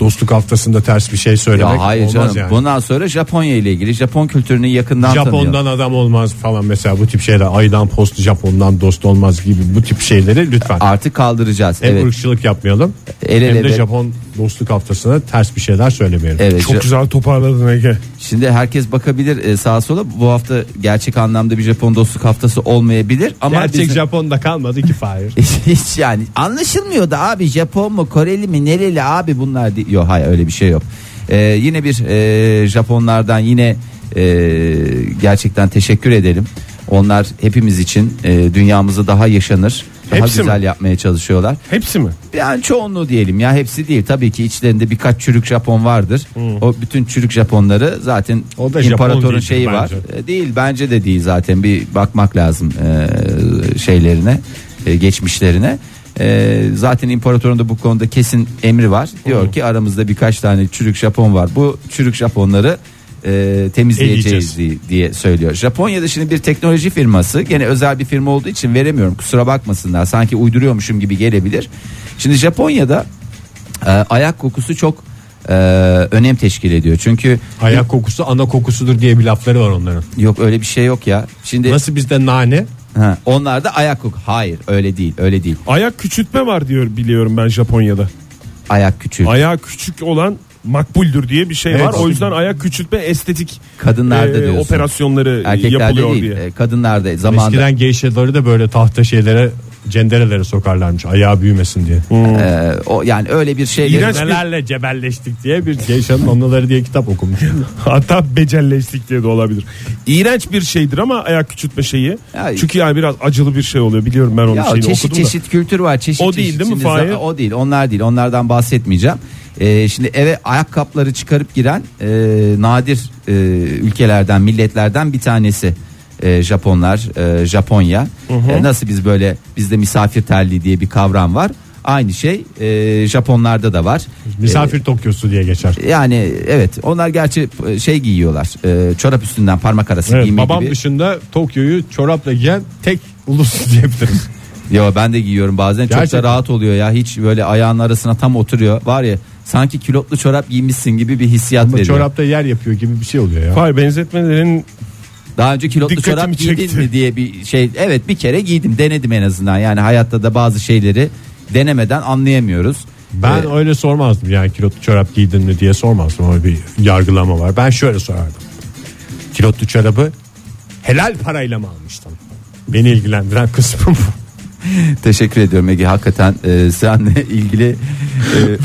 Speaker 1: Dostluk haftasında ters bir şey
Speaker 2: Ya
Speaker 1: söylemek
Speaker 2: hayır
Speaker 1: olmaz
Speaker 2: canım.
Speaker 1: yani.
Speaker 2: Bundan sonra Japonya ile ilgili Japon kültürünü yakından tanıyalım.
Speaker 1: Japon'dan adam olmaz falan mesela bu tip şeyler. Aydan post Japon'dan dost olmaz gibi bu tip şeyleri lütfen.
Speaker 2: Artık kaldıracağız.
Speaker 1: hem
Speaker 2: evet.
Speaker 1: ırkçılık yapmayalım.
Speaker 2: El ele
Speaker 1: hem de
Speaker 2: ver-
Speaker 1: Japon dostluk haftasına ters bir şeyler söylemeyelim.
Speaker 2: Evet.
Speaker 4: Çok
Speaker 2: Ja-
Speaker 4: güzel toparladın Ege.
Speaker 2: Şimdi herkes bakabilir e, sağa sola. Bu hafta gerçek anlamda bir Japon dostluk haftası olmayabilir ama
Speaker 1: Gerçek
Speaker 2: bizim-
Speaker 1: Japon'da kalmadı ki Fahir.
Speaker 2: [laughs] hiç yani anlaşılmıyor da abi Japon mu Koreli mi nereli abi bunlar diyor. Yok hayır öyle bir şey yok. E, yine bir e, Japonlardan yine e, gerçekten teşekkür edelim. Onlar hepimiz için e, dünyamızı daha yaşanır, daha
Speaker 4: Hepsi mi?
Speaker 2: güzel yapmaya çalışıyorlar.
Speaker 4: Hepsi mi?
Speaker 2: Yani çoğunluğu diyelim ya hepsi değil tabii ki içlerinde birkaç çürük Japon vardır. O bütün çürük Japonları zaten
Speaker 1: Hmm. O da Japon
Speaker 2: imparatorun
Speaker 1: değildir
Speaker 2: şeyi var.
Speaker 1: bence.
Speaker 2: E, Değil bence de değil zaten bir bakmak lazım e, şeylerine e, geçmişlerine. E, zaten imparatorun da bu konuda kesin emri var. Diyor ki aramızda birkaç tane çürük Japon var. Bu çürük Japonları e, temizleyeceğiz
Speaker 1: Eleyeceğiz.
Speaker 2: diye, diye söylüyor. Japonya'da şimdi bir teknoloji firması gene özel bir firma olduğu için veremiyorum kusura bakmasınlar sanki uyduruyormuşum gibi gelebilir. Şimdi Japonya'da e, ayak kokusu çok e, önem teşkil ediyor çünkü
Speaker 1: Ayak kokusu ana kokusudur diye bir lafları var onların.
Speaker 2: yok öyle bir şey yok ya. Şimdi
Speaker 1: Nasıl bizde nane?
Speaker 2: ha, onlar da ayak koku hayır öyle değil öyle değil
Speaker 4: Ayak küçültme var diyor biliyorum ben Japonya'da.
Speaker 2: ayak küçüğü.
Speaker 4: Ayağı küçük olan makbuldür diye bir şey
Speaker 1: Evet.
Speaker 4: var. O yüzden ayak küçültme estetik
Speaker 2: Kadınlarda
Speaker 4: e,
Speaker 2: diyorsun.
Speaker 4: operasyonları
Speaker 2: Erkeklerde
Speaker 4: yapılıyor
Speaker 2: değil,
Speaker 4: diye.
Speaker 2: e, kadınlarda zamanında.
Speaker 1: Eskiden geyşeleri de böyle tahta şeylere cenderelere sokarlarmış ayağı büyümesin diye.
Speaker 2: e, o yani öyle bir şey.
Speaker 4: İğrenç bir-
Speaker 1: Nelerle cebelleştik diye bir geyşanın anıları diye kitap okumuş.
Speaker 4: Hatta becelleştik diye de olabilir. İğrenç bir şeydir ama ayak küçültme şeyi.
Speaker 2: Ya-
Speaker 4: Çünkü yani biraz acılı bir şey oluyor. Biliyorum ben onun
Speaker 2: Ya
Speaker 4: şeyini
Speaker 2: çeşit
Speaker 4: okudum da.
Speaker 2: çeşit kültür var. Çeşit
Speaker 4: O değil
Speaker 2: çeşit.
Speaker 4: değil mi
Speaker 2: Şimdi
Speaker 4: Fahir?
Speaker 2: za- O değil. Onlar değil. Onlardan bahsetmeyeceğim. Ee, şimdi eve ayakkabıları çıkarıp giren e, nadir e, ülkelerden, milletlerden bir tanesi. E, Japonlar, e, Japonya. E, nasıl biz böyle bizde misafir terliği diye bir kavram var. Aynı şey e, Japonlarda da var.
Speaker 1: Misafir Tokyosu diye geçer.
Speaker 2: Yani evet onlar gerçi e, şey giyiyorlar. E, çorap üstünden parmak arası
Speaker 1: Evet,
Speaker 2: giyme
Speaker 1: babam
Speaker 2: gibi.
Speaker 1: dışında Tokyo'yu çorapla giyen tek ulus [laughs] diyebiliriz.
Speaker 2: Ya ben de giyiyorum bazen
Speaker 1: Gerçekten.
Speaker 2: çok da rahat oluyor ya hiç böyle ayağın arasına tam oturuyor var ya sanki külotlu çorap giymişsin gibi bir hissiyat
Speaker 1: Ama
Speaker 2: veriyor.
Speaker 1: çorapta yer yapıyor gibi bir şey oluyor ya.
Speaker 4: Hayır benzetmelerin
Speaker 2: Daha önce külotlu
Speaker 4: Dikkatimi
Speaker 2: çorap giydin
Speaker 4: çekti.
Speaker 2: mi diye bir şey evet bir kere giydim denedim en azından yani hayatta da bazı şeyleri denemeden anlayamıyoruz.
Speaker 1: Ben
Speaker 2: Ee,
Speaker 1: öyle sormazdım yani kilotlu çorap giydin mi diye sormazdım ama bir yargılama var. Ben şöyle sorardım. Kilotlu çorabı helal parayla mı almıştın? Beni ilgilendiren kısmı bu.
Speaker 2: teşekkür ediyorum Ege hakikaten e, seninle ilgili e,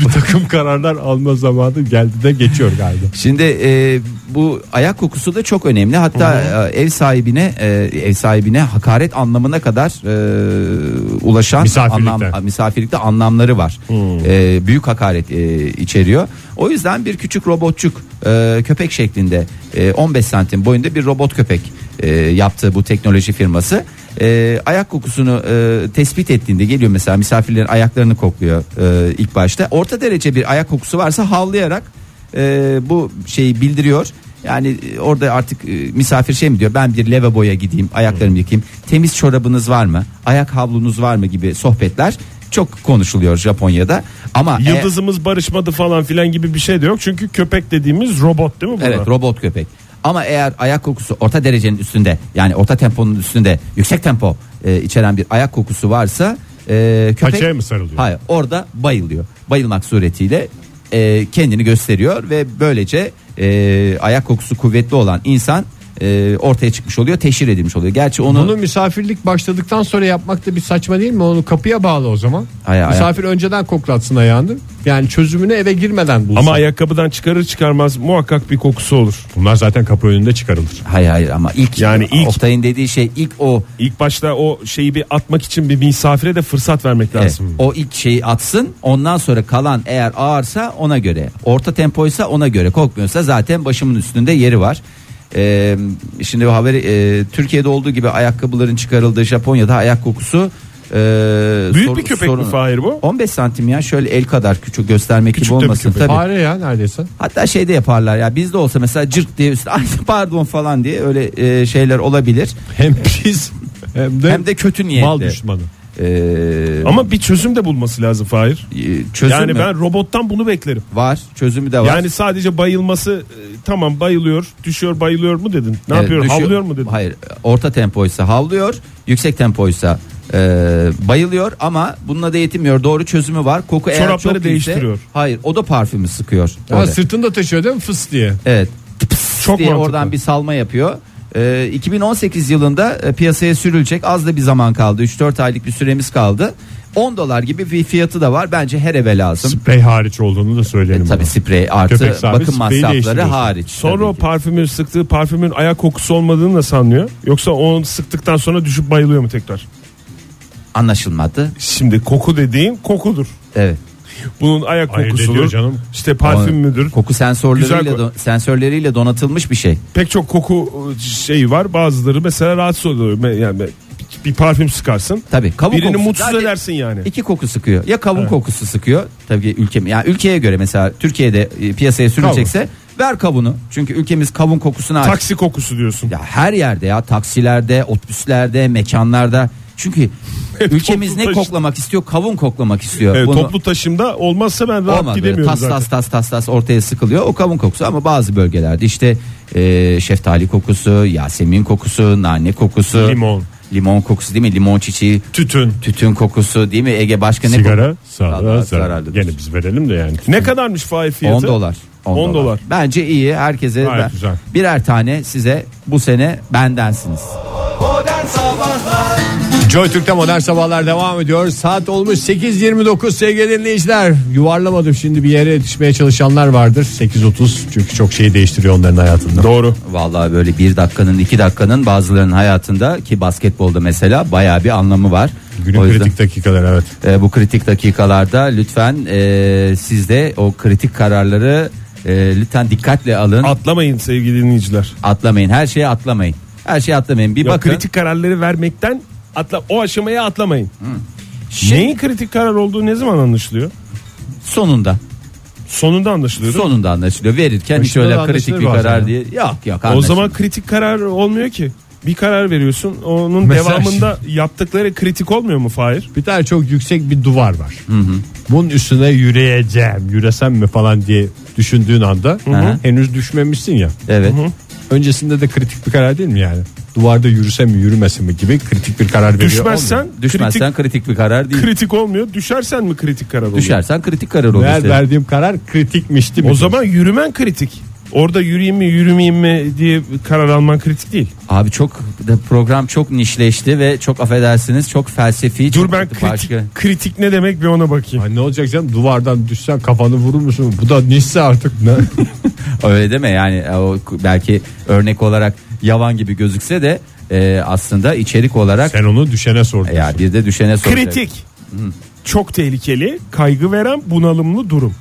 Speaker 1: [laughs] bir takım kararlar alma zamanı geldi de geçiyor galiba.
Speaker 2: Şimdi e, bu ayak kokusu da çok önemli. Hatta e, ev sahibine e, ev sahibine hakaret anlamına kadar e, ulaşan
Speaker 1: Misafirlikte.
Speaker 2: anlam- misafirlikte anlamları var. E, büyük hakaret e, içeriyor. O yüzden bir küçük robotçuk e, köpek şeklinde e, 15 santim boyunda bir robot köpek e, yaptı bu teknoloji firması. E, ayak kokusunu e, tespit ettiğinde geliyor mesela misafirlerin ayaklarını kokluyor e, ilk başta. Orta derece bir ayak kokusu varsa havlayarak e, bu şeyi bildiriyor. Yani e, orada artık e, misafir şey mi diyor ben bir lavaboya gideyim ayaklarımı yıkayayım. Temiz çorabınız var mı? Ayak havlunuz var mı gibi sohbetler çok konuşuluyor Japonya'da. Ama e,
Speaker 4: yıldızımız barışmadı falan filan gibi bir şey de yok. Çünkü köpek dediğimiz robot değil mi bunlar?
Speaker 2: evet robot köpek. Ama eğer ayak kokusu orta derecenin üstünde yani orta temponun üstünde yüksek tempo e, içeren bir ayak kokusu varsa e, köpek
Speaker 1: Paçaya mı sarılıyor?
Speaker 2: Hayır orada bayılıyor. Bayılmak suretiyle e, kendini gösteriyor ve böylece e, ayak kokusu kuvvetli olan insan e, ortaya çıkmış oluyor, teşhir edilmiş oluyor. Gerçi onu
Speaker 1: Bunu misafirlik başladıktan sonra yapmak da bir saçma değil mi? Onu kapıya bağlı o zaman.
Speaker 2: Aya- aya-
Speaker 1: Misafir önceden koklatsın ayağını. Yani çözümünü eve girmeden bulsun.
Speaker 4: Ama ayakkabıdan çıkarır çıkarmaz muhakkak bir kokusu olur.
Speaker 1: bunlar zaten kapı önünde çıkarılır.
Speaker 2: hayır hayır ama ilk
Speaker 4: Yani ilk-
Speaker 2: Oktay'ın dediği şey ilk o
Speaker 4: İlk başta o şeyi bir atmak için bir misafire de fırsat vermek
Speaker 2: Evet,
Speaker 4: lazım.
Speaker 2: o ilk şeyi atsın ondan sonra kalan eğer ağırsa ona göre orta tempoysa ona göre kokmuyorsa zaten başımın üstünde yeri var. Ee, şimdi bu haberi e, Türkiye'de olduğu gibi ayakkabıların çıkarıldığı Japonya'da ayak kokusu e,
Speaker 4: Büyük
Speaker 2: sor-
Speaker 4: bir köpek mi
Speaker 2: sorun-
Speaker 4: Fahir bu?
Speaker 2: 15 santim ya şöyle el kadar küçük göstermek
Speaker 4: Küçük de
Speaker 2: gibi
Speaker 4: bir
Speaker 2: olmasın
Speaker 4: köpek.
Speaker 2: tabii.
Speaker 1: Fare ya neredeyse.
Speaker 2: Hatta şeyde yaparlar ya bizde olsa mesela cırt diye üstüne [laughs] "Ay, pardon falan diye öyle e, şeyler olabilir.
Speaker 1: Hem pis hem de,
Speaker 2: Hem de kötü niyetli.
Speaker 1: mal düşmanı.
Speaker 2: Ee,
Speaker 4: Ama bir çözüm de bulması lazım Fahir.
Speaker 2: e, çözüm
Speaker 4: yani
Speaker 2: mü?
Speaker 4: ben robottan bunu beklerim.
Speaker 2: var çözümü de var.
Speaker 4: Yani sadece bayılması e, tamam bayılıyor, düşüyor, bayılıyor mu dedin? Ne
Speaker 2: Evet,
Speaker 4: yapıyor?
Speaker 2: Ee, düşüyor.
Speaker 4: Havlıyor mu dedin?
Speaker 2: Hayır. Orta tempoysa havlıyor, yüksek tempoysa e, bayılıyor ama bununla da yetinmiyor. Doğru çözümü var. Koku eğer
Speaker 4: Çorapları
Speaker 2: çok iyiyse-
Speaker 4: değiştiriyor.
Speaker 2: Hayır, o da parfümü sıkıyor.
Speaker 1: Ha,
Speaker 2: Öyle.
Speaker 1: sırtında taşıyor değil mi fıs diye.
Speaker 2: Evet. Tıps
Speaker 4: Çok
Speaker 2: diye
Speaker 4: mantıklı.
Speaker 2: oradan bir salma yapıyor. Ee, 2018 yılında e, piyasaya sürülecek az da bir zaman kaldı. 3-4 aylık bir süremiz kaldı. 10 dolar gibi bir fiyatı da var. Bence her eve lazım.
Speaker 1: Sprey hariç olduğunu da söyleyelim.
Speaker 2: E, Tabii sprey artı
Speaker 1: Köpek sahibi
Speaker 2: bakım
Speaker 1: spreyi
Speaker 2: masrafları
Speaker 1: değiştiriyorsun.
Speaker 2: hariç.
Speaker 4: Sonra
Speaker 2: tabii
Speaker 4: o
Speaker 2: ki.
Speaker 4: parfümün sıktığı parfümün ayak kokusu olmadığını da sanıyor. Yoksa onu sıktıktan sonra düşüp bayılıyor mu tekrar?
Speaker 2: anlaşılmadı.
Speaker 4: Şimdi koku dediğin kokudur.
Speaker 2: Evet.
Speaker 4: Bunun ayak
Speaker 1: Ayırt
Speaker 4: kokusudur.
Speaker 1: ediyor canım.
Speaker 4: İşte parfüm
Speaker 2: Ama
Speaker 4: müdür.
Speaker 2: Koku sensörleriyle
Speaker 4: Güzel
Speaker 2: do- sensörleriyle donatılmış bir şey.
Speaker 4: Pek çok koku e, şeyi var. Bazıları mesela rahatsız oluyor. Me- Yani me- bir parfüm sıkarsın.
Speaker 2: Tabii kavun
Speaker 4: Birini
Speaker 2: kokusu.
Speaker 4: mutsuz
Speaker 2: Zaten
Speaker 4: edersin yani.
Speaker 2: İki koku sıkıyor. Ya kavun kokusu sıkıyor. Tabii ki ülkem yani ülkeye göre mesela Türkiye'de e, piyasaya sürülecekse ver kavunu. Çünkü ülkemiz kavun kokusuna aç.
Speaker 4: Taksi kokusu diyorsun.
Speaker 2: Ya her yerde ya taksilerde, otobüslerde, mekanlarda.
Speaker 4: [laughs]
Speaker 2: Çünkü ülkemiz ne
Speaker 4: taşı-
Speaker 2: koklamak istiyor? Kavun koklamak istiyor.
Speaker 4: Evet,
Speaker 2: Bunu-
Speaker 4: toplu taşımda olmazsa ben rahat
Speaker 2: Olmaz böyle
Speaker 4: gidemiyorum
Speaker 2: tas,
Speaker 4: zaten.
Speaker 2: tas tas tas tas ortaya sıkılıyor o kavun kokusu ama bazı bölgelerde işte e, şeftali kokusu, yasemin kokusu, nane kokusu,
Speaker 1: Limon.
Speaker 2: Limon kokusu değil mi? Limon çiçeği,
Speaker 1: Tütün.
Speaker 2: tütün kokusu değil mi? Ege başka ne
Speaker 1: Sigara
Speaker 2: koku?
Speaker 1: zarar,
Speaker 2: Vallahi
Speaker 1: zarar.
Speaker 2: zararlıdır.
Speaker 1: Gene biz verelim de yani.
Speaker 4: Ne kadarmış Fahir
Speaker 2: 10
Speaker 4: fiyatı?
Speaker 2: dolar. 10,
Speaker 4: 10 dolar.
Speaker 2: Bence iyi. Herkese
Speaker 1: Gayet
Speaker 2: ben-
Speaker 1: güzel.
Speaker 2: birer tane size bu sene bendensiniz.
Speaker 1: Joy Türk'te modern sabahlar devam ediyor. Saat olmuş 8.29 sevgili dinleyiciler. Yuvarlamadım şimdi bir yere yetişmeye çalışanlar vardır. 8.30 çünkü çok şey değiştiriyor onların hayatında.
Speaker 4: Doğru.
Speaker 2: Vallahi böyle bir dakikanın iki dakikanın bazılarının hayatında ki basketbolda mesela bayağı bir anlamı var.
Speaker 1: Günün
Speaker 2: O yüzden-
Speaker 1: kritik dakikaları evet.
Speaker 2: E, bu kritik dakikalarda lütfen e, siz de o kritik kararları e, lütfen dikkatle alın.
Speaker 4: Atlamayın sevgili dinleyiciler.
Speaker 2: atlamayın. Her şeye atlamayın. Her şeye atlamayın. Bir
Speaker 4: Ya
Speaker 2: bakın.
Speaker 4: kritik kararları vermekten atla o aşamaya atlamayın.
Speaker 2: Şey-
Speaker 4: Neyin kritik karar olduğu ne zaman anlaşılıyor?
Speaker 2: sonunda.
Speaker 4: Sonunda anlaşılıyor. değil mi?
Speaker 2: Sonunda anlaşılıyor. Verirken hiç
Speaker 1: Başında da
Speaker 2: öyle
Speaker 1: anlaşılır
Speaker 2: kritik bir
Speaker 1: bazen
Speaker 2: karar
Speaker 1: ya.
Speaker 2: diye. Yok yok.
Speaker 4: o
Speaker 2: anlaşılıyor.
Speaker 4: zaman kritik karar olmuyor ki. Bir karar veriyorsun. Onun
Speaker 1: Mesela
Speaker 4: devamında yaptıkları kritik olmuyor mu Fahir?
Speaker 1: Bir tane çok yüksek bir duvar var. Bunun üstüne yürüyeceğim, yürüsem mi falan diye düşündüğün anda
Speaker 2: hı.
Speaker 1: henüz düşmemişsin ya.
Speaker 2: evet.
Speaker 1: Öncesinde de kritik bir karar değil mi yani? Duvarda yürüsem mi yürümesem mi gibi kritik bir karar veriyor.
Speaker 4: Düşmezsen
Speaker 1: olmuyor.
Speaker 2: Düşmezsen kritik, bir karar değil.
Speaker 4: kritik, kritik olmuyor. Düşersen mi kritik karar oluyor?
Speaker 2: Düşersen kritik karar olur.
Speaker 1: Meğer
Speaker 2: işte.
Speaker 1: verdiğim karar kritikmişti mi?
Speaker 4: O zaman yürümen kritik. Orada yürüyeyim mi yürümeyeyim mi diye karar alman kritik değil.
Speaker 2: Abi çok program çok nişleşti ve çok affedersiniz çok felsefi.
Speaker 4: Dur
Speaker 2: çok
Speaker 4: ben kritik,
Speaker 2: başka-
Speaker 4: kritik ne demek bir ona bakayım.
Speaker 1: Ay ne olacak canım duvardan düşsen kafanı vurur musun? Bu da nişse artık ne?
Speaker 2: Öyle deme yani e, o k- belki örnek olarak yavan gibi gözükse de e, aslında içerik olarak
Speaker 1: Sen onu düşene sordun.
Speaker 2: ya bir de düşene soracak.
Speaker 4: Kritik. Çok tehlikeli, kaygı veren, bunalımlı durum.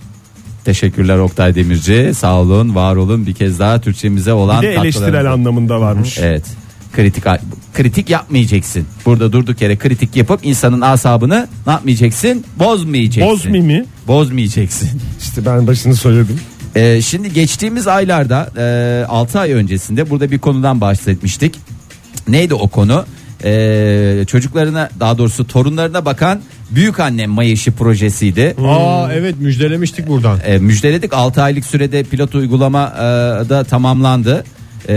Speaker 2: Teşekkürler Oktay Demirci. Sağ olun, var olun. Bir kez daha Türkçemize olan
Speaker 4: Bir de eleştirel
Speaker 2: katkılarınız-
Speaker 4: anlamında varmış.
Speaker 2: Evet. Kritik kritik yapmayacaksın. Burada durduk yere kritik yapıp insanın asabını ne yapmayacaksın? Bozmayacaksın.
Speaker 4: Boz mimi.
Speaker 2: Bozmayacaksın.
Speaker 4: İşte [laughs] ben başını söyledim.
Speaker 2: Ee, şimdi geçtiğimiz aylarda e, 6 ay öncesinde burada bir konudan bahsetmiştik. Neydi o konu? Ee, çocuklarına daha doğrusu torunlarına bakan büyükannem Mayışı projesiydi.
Speaker 1: Aa evet müjdelemiştik buradan.
Speaker 2: E, müjdeledik 6 aylık sürede pilot uygulama e, da tamamlandı. E,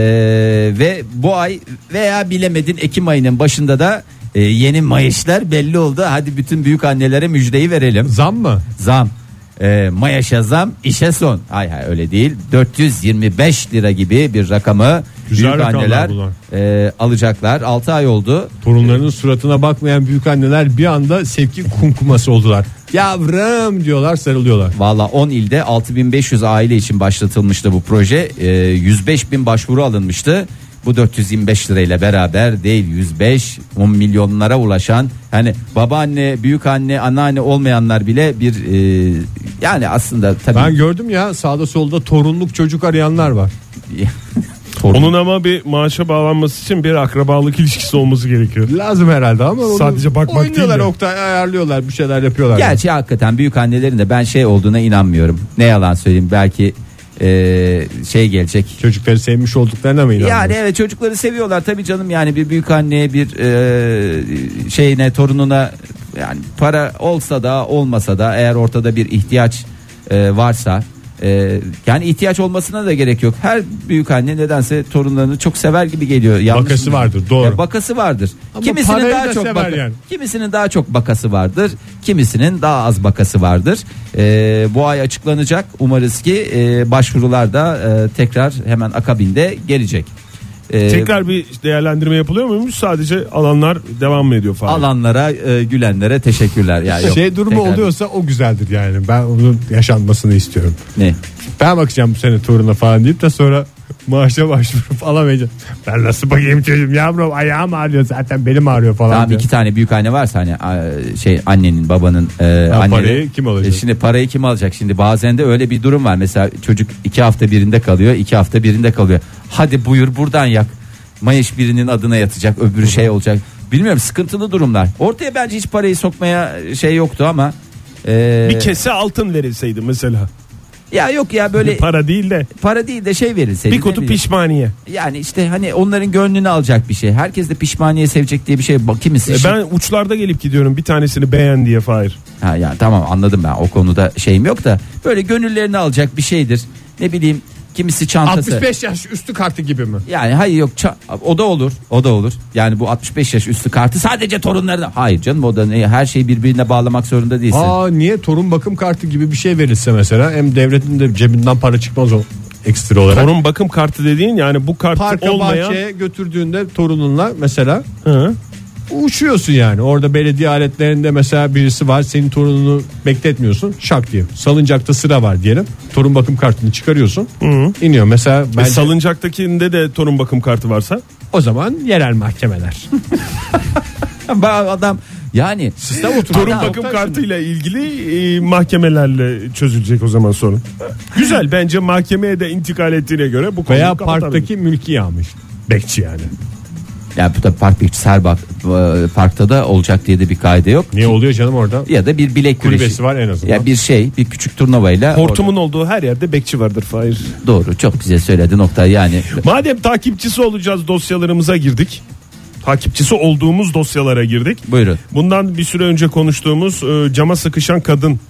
Speaker 2: ve bu ay veya bilemedin Ekim ayının başında da e, yeni mayışlar belli oldu. Hadi bütün büyük annelere müjdeyi verelim.
Speaker 1: Zam mı?
Speaker 2: Zam. E, mayaşa zam işe son. Hay hay öyle değil. 425 lira gibi bir rakamı
Speaker 1: Güzel
Speaker 2: büyük
Speaker 1: rakamlar
Speaker 2: anneler e, alacaklar. 6 ay oldu.
Speaker 1: Torunlarının suratına bakmayan büyük anneler bir anda sevgi kumkuması oldular. Yavrum diyorlar sarılıyorlar.
Speaker 2: Valla 10 ilde 6500 aile için başlatılmıştı bu proje. Ee, 105 bin başvuru alınmıştı. Bu 425 lirayla beraber değil 105 10 milyonlara ulaşan hani babaanne, büyükanne, anneanne olmayanlar bile bir e, yani aslında tabii
Speaker 1: Ben gördüm ya sağda solda torunluk çocuk arayanlar var.
Speaker 2: [laughs] Torun-
Speaker 4: Onun ama bir maaşa bağlanması için bir akrabalık ilişkisi olması gerekiyor.
Speaker 1: Lazım herhalde ama onu
Speaker 4: Sadece bakmak değil
Speaker 1: oynuyorlar
Speaker 4: de.
Speaker 1: Oktay ayarlıyorlar bir şeyler yapıyorlar.
Speaker 2: Gerçi hakikaten büyük annelerin de ben şey olduğuna inanmıyorum. Ne yalan söyleyeyim belki e, şey gelecek.
Speaker 1: Çocukları sevmiş olduklarına mı inanıyorsun?
Speaker 2: Yani evet çocukları seviyorlar tabii canım yani bir büyük anneye bir e, şeyine torununa yani para olsa da olmasa da eğer ortada bir ihtiyaç e, varsa e, yani ihtiyaç olmasına da gerek yok. Her büyük anne nedense torunlarını çok sever gibi geliyor. Yanlış
Speaker 1: Bakası
Speaker 2: mı?
Speaker 1: vardır, doğru.
Speaker 2: Ya bakası vardır.
Speaker 1: Ama parayı da sever yani.
Speaker 2: Kimisinin daha çok bakası vardır, kimisinin daha az bakası vardır. Ee, bu ay açıklanacak. Umarız ki e, başvurular da e, tekrar hemen akabinde gelecek. Ee,
Speaker 4: Tekrar bir değerlendirme yapılıyor muymuş? Sadece alanlar devam mı ediyor falan?
Speaker 2: alanlara, e, gülenlere teşekkürler. Ya yok,
Speaker 1: şey durumu
Speaker 2: tekrar-
Speaker 1: oluyorsa o güzeldir yani. Ben onun yaşanmasını istiyorum.
Speaker 2: Ne?
Speaker 1: Ben bakacağım bu sene toruna falan deyip de sonra [laughs] maaşa başvurup alamayacağım. Ben nasıl bakayım çocuğum yavrum ayağım ağrıyor zaten belim ağrıyor falan.
Speaker 2: Tamam
Speaker 1: diyor.
Speaker 2: iki tane büyük anne varsa hani a- şey annenin babanın e, annenin-
Speaker 1: parayı kim alacak?
Speaker 2: E, şimdi parayı kim alacak? Şimdi bazen de öyle bir durum var. Mesela çocuk iki hafta birinde kalıyor, iki hafta birinde kalıyor. Hadi buyur buradan yak. Mayış birinin adına yatacak, öbürü şey olacak. Bilmiyorum sıkıntılı durumlar. Ortaya bence hiç parayı sokmaya şey yoktu ama e,
Speaker 4: Bir kese altın verilseydi mesela.
Speaker 2: ya yok ya böyle para,
Speaker 4: Para değil de
Speaker 2: değil de şey verilseydi.
Speaker 4: bir
Speaker 2: ne
Speaker 4: kutu
Speaker 2: bileyim.
Speaker 4: pişmaniye.
Speaker 2: Yani işte hani onların gönlünü alacak bir şey. Herkes de pişmaniye sevecek diye bir şey. Bak kimisi
Speaker 4: E
Speaker 2: şık-
Speaker 4: ben uçlarda gelip gidiyorum bir tanesini beğen diye Fahir.
Speaker 2: Ha ya tamam anladım ben o konuda şeyim yok da böyle gönüllerini alacak bir şeydir. Ne bileyim kimisi çantası.
Speaker 1: 65 yaş üstü kartı gibi mi?
Speaker 2: Yani hayır yok ça- o da olur o da olur. Yani bu 65 yaş üstü kartı sadece torunlarına. Hayır canım o da ne, her şeyi birbirine bağlamak zorunda değilsin.
Speaker 1: Aa niye torun bakım kartı gibi bir şey verilse mesela hem devletin de cebinden para çıkmaz o ekstra olarak.
Speaker 4: Torun bakım kartı dediğin yani bu kart
Speaker 1: Parka
Speaker 4: olmayan
Speaker 1: bahçeye götürdüğünde torununla mesela
Speaker 4: Hı.
Speaker 1: uçuyorsun yani. Orada belediye aletlerinde mesela birisi var senin torununu bekletmiyorsun şak diye. Salıncakta sıra var diyelim. Torun bakım kartını çıkarıyorsun. iniyor mesela
Speaker 4: E,
Speaker 1: bence
Speaker 4: salıncaktakinde de torun bakım kartı varsa
Speaker 1: o zaman yerel
Speaker 4: [laughs]
Speaker 1: mahkemeler.
Speaker 2: Ba- adam yani
Speaker 1: Sistem oturdu.
Speaker 4: torun
Speaker 2: Adam-
Speaker 4: bakım kartıyla ilgili e, mahkemelerle çözülecek o zaman sorun. Güzel bence mahkemeye de intikal ettiğine göre bu konuyu
Speaker 1: Veya
Speaker 4: kapatalım.
Speaker 1: parktaki mülki almış. Bekçi yani.
Speaker 2: ya bu da park bekçisi bak e, parkta da olacak diye de bir kaide yok.
Speaker 1: Niye oluyor canım orada?
Speaker 2: Ya da bir bilek
Speaker 1: Kulübesi
Speaker 2: güreşi.
Speaker 1: var en azından.
Speaker 2: Ya bir şey bir küçük turnuvayla.
Speaker 4: Hortumun olduğu her yerde bekçi vardır Fahir.
Speaker 2: Or- Doğru çok güzel söyledi nokta yani.
Speaker 4: Madem takipçisi olacağız dosyalarımıza girdik. Takipçisi olduğumuz dosyalara girdik.
Speaker 2: Buyurun.
Speaker 4: Bundan bir süre önce konuştuğumuz e, cama sıkışan kadın e,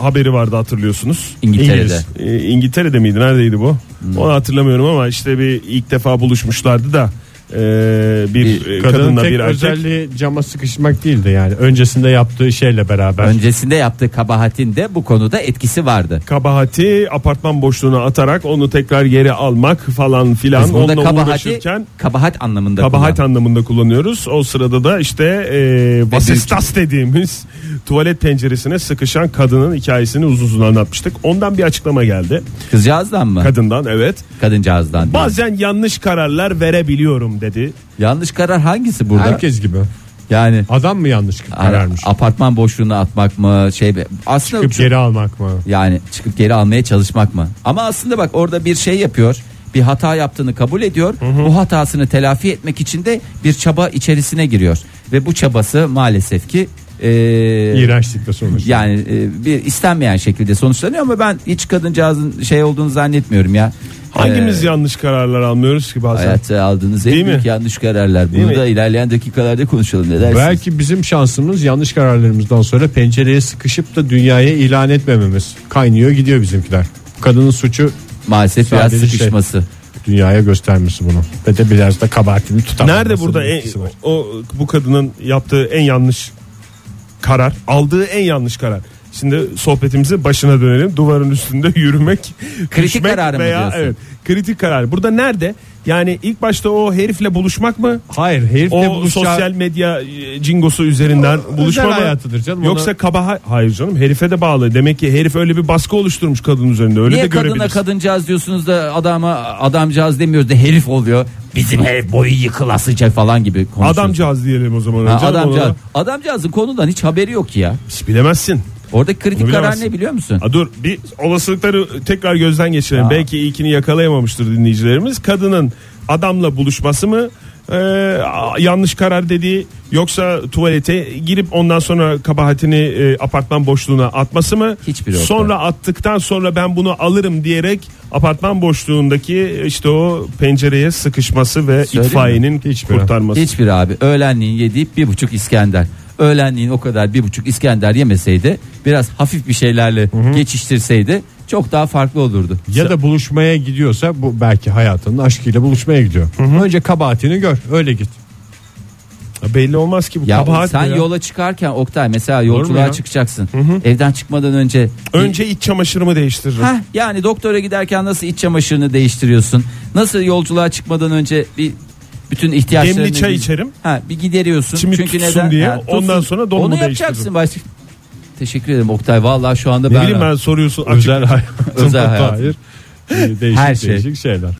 Speaker 4: haberi vardı hatırlıyorsunuz.
Speaker 2: İngiltere'de. Hmm.
Speaker 4: İngiliz. E, İngiltere'de miydi? Neredeydi bu? Onu hatırlamıyorum ama işte bir ilk defa buluşmuşlardı da e, bir,
Speaker 2: Bir
Speaker 4: e,
Speaker 1: Kadının
Speaker 4: kadınla
Speaker 1: tek
Speaker 4: bir erkek.
Speaker 1: özelliği cama sıkışmak değildi yani. Öncesinde yaptığı şeyle beraber.
Speaker 2: Öncesinde yaptığı kabahatin de bu konuda etkisi vardı.
Speaker 4: Kabahati apartman boşluğuna atarak onu tekrar geri almak falan filan.
Speaker 2: Biz burada
Speaker 4: Onunla
Speaker 2: kabahati
Speaker 4: uğraşırken
Speaker 2: kabahat anlamında
Speaker 4: Kabahat
Speaker 2: kullandık.
Speaker 4: anlamında kullanıyoruz. O sırada da işte e, vasistas dediğimiz tuvalet penceresine sıkışan kadının hikayesini uzun uzun anlatmıştık. Ondan bir açıklama geldi.
Speaker 2: Kızcağızdan mı?
Speaker 4: Kadından evet.
Speaker 2: Kadıncağızdan. değil.
Speaker 4: Bazen yanlış kararlar verebiliyorum dedi.
Speaker 2: Yanlış karar hangisi burada?
Speaker 1: Herkes gibi.
Speaker 2: Yani
Speaker 1: Adam mı yanlış kararmış?
Speaker 2: apartman boşluğuna atmak mı şey aslında
Speaker 1: Çıkıp
Speaker 2: şu-
Speaker 1: geri almak mı?
Speaker 2: yani çıkıp geri almaya çalışmak mı? Ama aslında bak orada bir şey yapıyor. Bir hata yaptığını kabul ediyor. Bu hatasını telafi etmek için de bir çaba içerisine giriyor ve bu çabası maalesef ki eee,
Speaker 1: İğrençlikle sonuç.
Speaker 2: yani e, bir istenmeyen şekilde sonuçlanıyor ama ben hiç kadıncağızın şey olduğunu zannetmiyorum ya.
Speaker 4: Hangimiz
Speaker 2: Ee,
Speaker 4: yanlış kararlar almıyoruz ki bazen?
Speaker 2: hayatta aldığınız en
Speaker 4: Değil
Speaker 2: büyük
Speaker 4: mi?
Speaker 2: yanlış kararlar. Bunu
Speaker 4: mi?
Speaker 2: da ilerleyen dakikalarda konuşalım ne dersiniz?
Speaker 1: Belki bizim şansımız yanlış kararlarımızdan sonra pencereye sıkışıp da dünyaya ilan etmememiz. Kaynıyor gidiyor bizimkiler. Kadının suçu
Speaker 2: Maalesef biraz
Speaker 1: Sadece şey.
Speaker 2: sıkışması.
Speaker 1: dünyaya göstermesi bunu. Ve de biraz da kabahatini tutamaması.
Speaker 4: Nerede burada en-
Speaker 1: etkisi var.
Speaker 4: o bu kadının yaptığı en yanlış karar, aldığı en yanlış karar. Şimdi sohbetimizin başına dönelim. Duvarın üstünde [laughs] yürümek,
Speaker 2: Kritik
Speaker 4: düşmek
Speaker 2: kararı mı diyorsun?
Speaker 4: Evet, kritik karar. Burada nerede? Yani ilk başta o herifle buluşmak mı?
Speaker 1: Hayır herifle
Speaker 4: O
Speaker 1: buluşacağı-
Speaker 4: sosyal medya e, cingosu üzerinden
Speaker 1: özel
Speaker 4: buluşma mı?
Speaker 1: hayatıdır canım,
Speaker 4: Yoksa
Speaker 1: ona-
Speaker 4: kabaha hayır canım herife de bağlı. Demek ki herif öyle bir baskı oluşturmuş kadın üzerinde. Öyle de
Speaker 2: Niye kadına
Speaker 4: görebilirsin.
Speaker 2: kadıncağız diyorsunuz da adama adamcağız demiyoruz da herif oluyor. Bizim ev boyu yıkılasıca falan gibi konuşuyoruz.
Speaker 4: Adamcağız diyelim o zaman.
Speaker 2: Ha,
Speaker 4: önce ama
Speaker 2: adamcağız.
Speaker 4: ona-
Speaker 2: Adamcağızın konudan hiç haberi yok ki ya.
Speaker 4: Hiç bilemezsin.
Speaker 2: Orada kritik
Speaker 4: Onu
Speaker 2: karar
Speaker 4: bilemezsin.
Speaker 2: ne biliyor musun?
Speaker 4: Ha, dur bir olasılıkları tekrar gözden geçirelim.
Speaker 2: Aa.
Speaker 4: Belki ilkini yakalayamamıştır dinleyicilerimiz. Kadının adamla buluşması mı? Ee, a- yanlış karar dediği yoksa tuvalete girip ondan sonra kabahatini e, apartman boşluğuna atması mı?
Speaker 2: Hiçbiri yok.
Speaker 4: Sonra attıktan sonra ben bunu alırım diyerek apartman boşluğundaki işte o pencereye sıkışması ve
Speaker 2: Söyleyeyim
Speaker 4: itfaiyenin
Speaker 1: Hiçbiri.
Speaker 4: kurtarması.
Speaker 2: Hiçbir abi öğlenliğin yediği bir buçuk İskender. Öğlenliğin o kadar bir buçuk İskender yemeseydi biraz hafif bir şeylerle geçiştirseydi çok daha farklı olurdu.
Speaker 1: Ya da buluşmaya gidiyorsa bu belki hayatının aşkıyla buluşmaya gidiyor. Önce kabahatini gör öyle git.
Speaker 4: Belli olmaz ki bu
Speaker 2: ya
Speaker 4: kabahat
Speaker 2: sen
Speaker 4: mi ya?
Speaker 2: yola çıkarken Oktay mesela
Speaker 1: mu
Speaker 2: yolculuğa
Speaker 1: ya?
Speaker 2: çıkacaksın. Evden çıkmadan önce
Speaker 4: Önce iç çamaşırımı değiştiririm.
Speaker 2: Heh, yani doktora giderken nasıl iç çamaşırını değiştiriyorsun? Nasıl yolculuğa çıkmadan önce bir bütün ihtiyaçlarını
Speaker 4: Demli çay içerim.
Speaker 2: Ha, bir gideriyorsun.
Speaker 4: İçimi
Speaker 2: Çünkü
Speaker 4: tutsun
Speaker 2: neden?
Speaker 4: diye,
Speaker 2: Ha,
Speaker 4: ondan sonra donumu
Speaker 2: Onu yapacaksın
Speaker 4: değiştiririm.
Speaker 2: başka. Teşekkür ederim Oktay. Vallahi şu anda
Speaker 4: Ne
Speaker 2: ben
Speaker 4: bileyim ben soruyorsun. açık-
Speaker 1: [laughs] Özel hayatında
Speaker 2: Özel hayat.
Speaker 1: dair, e, değişik
Speaker 2: Her şey.
Speaker 1: değişik şeyler.